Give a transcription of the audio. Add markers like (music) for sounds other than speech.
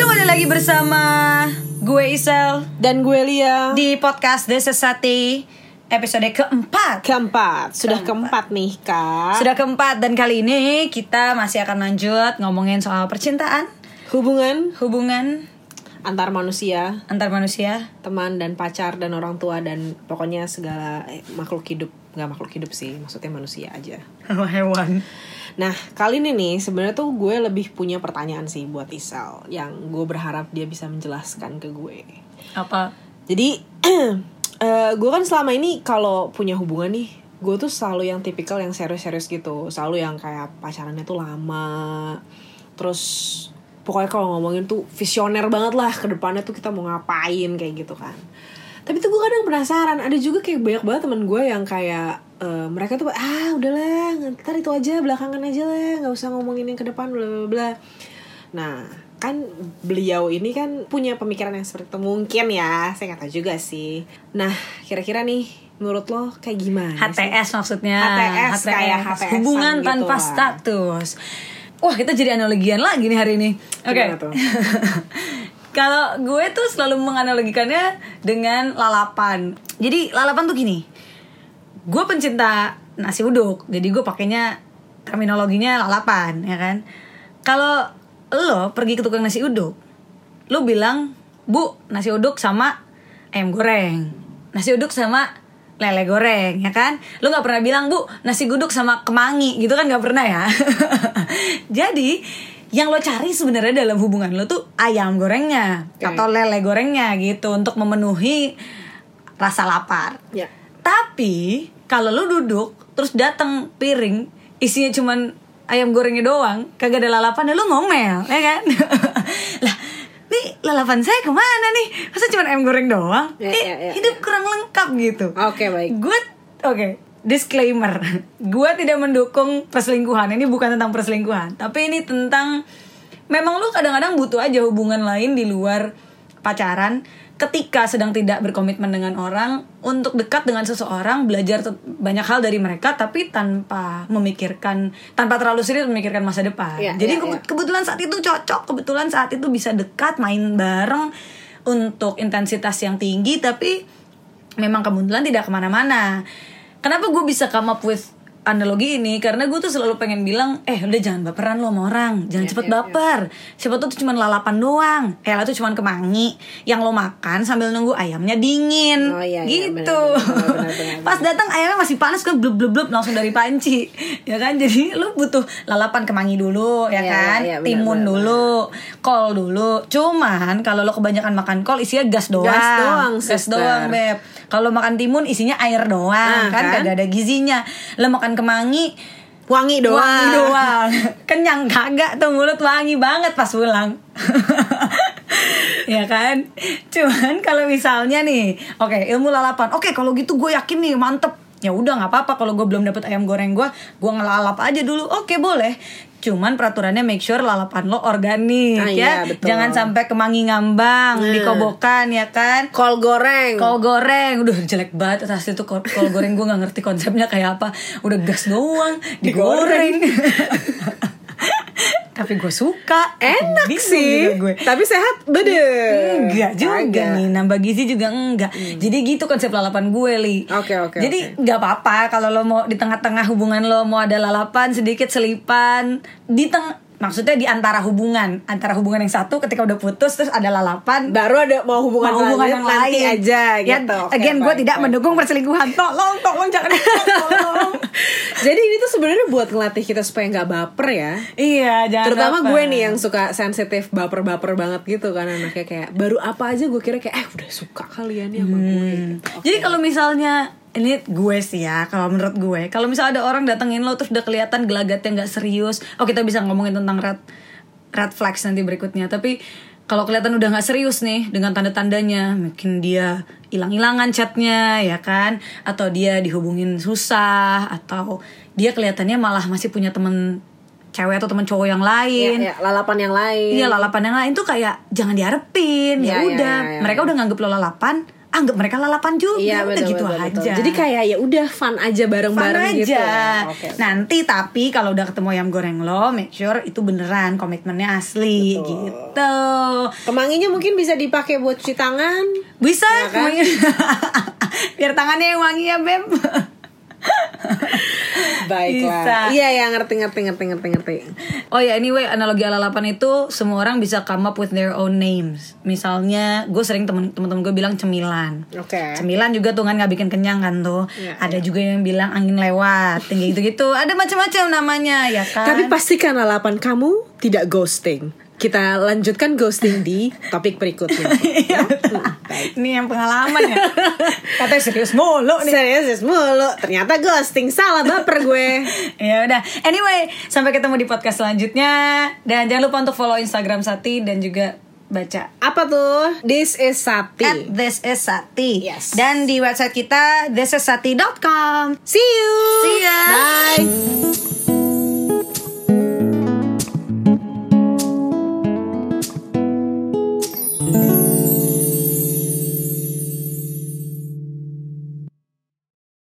Kembali lagi bersama gue Isel Dan gue Lia di podcast The Sesati episode keempat. Keempat Sudah Keempat. keempat, nih kak Sudah keempat dan kali ini kita masih akan lanjut ngomongin soal percintaan, Hubungan hubungan antar manusia antar manusia. Teman dan pacar dan orang tua Dan pokoknya segala eh, makhluk hidup Gak makhluk hidup sih Maksudnya manusia aja Hewan. Nah kali ini nih sebenarnya tuh gue lebih punya pertanyaan sih buat Isal Yang gue berharap dia bisa menjelaskan ke gue Apa? Jadi (clears throat) eh gue kan selama ini kalau punya hubungan nih Gue tuh selalu yang tipikal yang serius-serius gitu Selalu yang kayak pacarannya tuh lama Terus pokoknya kalau ngomongin tuh visioner banget lah Kedepannya tuh kita mau ngapain kayak gitu kan tapi tuh gue kadang penasaran ada juga kayak banyak banget temen gue yang kayak eh, mereka tuh ah udahlah ntar itu aja belakangan aja lah nggak usah ngomongin yang ke depan bla bla bla nah kan beliau ini kan punya pemikiran yang seperti itu mungkin ya saya nggak tahu juga sih nah kira-kira nih menurut lo kayak gimana sih? HTS maksudnya. HTS, kayak HTS-an hubungan gitu tanpa lah. status. Wah, kita jadi analogian lagi nih hari ini. Oke. Gimana tuh? (laughs) Kalau gue tuh selalu menganalogikannya dengan lalapan. Jadi lalapan tuh gini. Gue pencinta nasi uduk, jadi gue pakainya terminologinya lalapan, ya kan? Kalau lo pergi ke tukang nasi uduk, lo bilang, "Bu, nasi uduk sama ayam goreng." Nasi uduk sama lele goreng, ya kan? Lo nggak pernah bilang, "Bu, nasi guduk sama kemangi." Gitu kan nggak pernah ya. (laughs) Jadi, yang lo cari sebenarnya dalam hubungan lo tuh ayam gorengnya Oke. atau lele gorengnya gitu untuk memenuhi rasa lapar. ya Tapi kalau lu duduk terus datang piring isinya cuman ayam gorengnya doang, kagak ada lalapan, ya lu ngomel, ya kan? (laughs) lah, nih lalapan saya kemana nih? Masa cuman ayam goreng doang? Ya, Eh, ya, ya, Oh, hidup kurang lengkap gitu. oke baik Gue, oke, disclaimer, (laughs) gue tidak mendukung perselingkuhan. Ini bukan tentang perselingkuhan, tapi ini tentang memang lu kadang-kadang butuh aja hubungan lain di luar pacaran. Ketika sedang tidak berkomitmen dengan orang, untuk dekat dengan seseorang, belajar te- banyak hal dari mereka, tapi tanpa memikirkan, tanpa terlalu serius memikirkan masa depan. Iya, Jadi iya, kebe- iya. kebetulan saat itu cocok, kebetulan saat itu bisa dekat, main bareng untuk intensitas yang tinggi, tapi memang kebetulan tidak kemana-mana. Kenapa gue bisa come up with analogi ini? Karena gue tuh selalu pengen bilang, eh udah jangan baperan lo sama orang, jangan Iya, cepet baper. Siapa tuh cuma lalapan doang, eh lah tuh cuma kemangi. Yang lo makan sambil nunggu ayamnya dingin, Oh, iya, iya, gitu. benar, benar, benar, (laughs) benar, benar. Pas datang ayamnya masih panas kan blub blub blub langsung dari panci, ya kan? Jadi lo butuh lalapan kemangi dulu, ya Iya, kan? iya, iya, benar, Timun benar, dulu, kol dulu. Cuman kalau lo kebanyakan makan kol isinya gas doang, Gas doang, gas sister. doang, Beb. Beb. Kalau makan timun isinya air doang, Nah, kan, kan? kagak ada gizinya. Lo makan kemangi wangi doang wangi doang. (laughs) Kenyang kagak tuh mulut wangi banget pas pulang. (laughs) ya kan? Cuman kalau misalnya nih, oke, ilmu lalapan. Oke, kalau gitu gue yakin nih mantep. Ya udah nggak apa-apa kalau gue belum dapet ayam goreng gue, gue ngelalap aja dulu. Oke, boleh. Cuman peraturannya make sure lalapan lo organik Ah, ya. iya, betul. Nah. Jangan sampai kemangi ngambang, dikobokan ya kan. kol goreng Kol goreng, udah jelek banget asli tuh kol, kol goreng gue nggak ngerti konsepnya kayak apa. Udah gas doang, digoreng. (laughs) Tapi gue suka, enak Bingung juga sih gue. tapi sehat beden Enggak juga Kagak. nih, nambah gizi juga enggak. Jadi gitu konsep lalapan gue, Li. Hmm. Oke, oke, Jadi nggak apa-apa kalau lo mau di tengah-tengah hubungan lo mau ada lalapan sedikit selipan di teng maksudnya di antara hubungan, antara hubungan yang satu ketika udah putus terus ada lalapan baru ada mau hubungan, mau hubungan lanjut yang nanti lain aja Ya, gitu. Oke, again gue baik, tidak baik. mendukung perselingkuhan. Tolong, tolong jangan. tolong. (laughs) Jadi ini tuh sebenarnya buat ngelatih kita supaya nggak baper ya. iya, jangan. Terutama baper. gue nih yang suka sensitif baper-baper banget gitu kan anaknya kayak baru apa aja gue kira kayak eh udah suka kalian nih sama gue. Hmm. gitu. Jadi kalau misalnya ini gue sih ya kalau menurut gue kalau misalnya ada orang datengin lo terus udah kelihatan gelagatnya nggak serius oh kita bisa ngomongin tentang red red flags nanti berikutnya tapi kalau kelihatan udah nggak serius nih dengan tanda-tandanya mungkin dia hilang-hilangan chatnya ya kan atau dia dihubungin susah atau dia kelihatannya malah masih punya temen cewek atau temen cowok yang Ya, lain ya, lalapan yang lain. Iya lalapan yang lain tuh kayak jangan diharapin ya, Iya, iya, udah iya, iya. mereka udah nganggep lo lalapan anggap mereka lalapan juga Iya udah betul gitu betul, aja. betul. Jadi kayak ya udah fun aja Fun bareng-bareng aja. gitu. ya. Oke. Nanti tapi kalau udah ketemu ayam goreng lo, make sure itu beneran komitmennya asli gitu. Kemanginya mungkin bisa dipakai buat cuci tangan. Bisa Iya kan? (laughs) biar tangannya yang wangi ya beb. (laughs) Bisa. Baiklah. Iya ya ngerti ngerti ngerti ngerti ngerti. Oh ya anyway analogi ala lalapan itu semua orang bisa come up with their own names. Misalnya gue sering temen temen gue bilang cemilan. Oke. Cemilan juga tuh kan nggak bikin kenyang kan tuh. Iya, ada juga yang bilang angin lewat, tinggi gitu gitu. Ada macam-macam namanya ya kan. Tapi pastikan lalapan kamu tidak ghosting. Kita lanjutkan ghosting di topik berikutnya. (laughs) (laughs) Iya, Ya? Hmm. betul. Ini yang pengalaman (laughs) ya. Katanya serius mulu nih. Serius mulu. Ternyata ghosting salah baper gue. Ya udah. Anyway, sampai ketemu di podcast selanjutnya dan jangan lupa untuk follow Instagram Sati dan juga baca Apa tuh? This is Sati. at this is Sati. Yes. Dan di website kita thisissati.com. See you. See ya. Bye.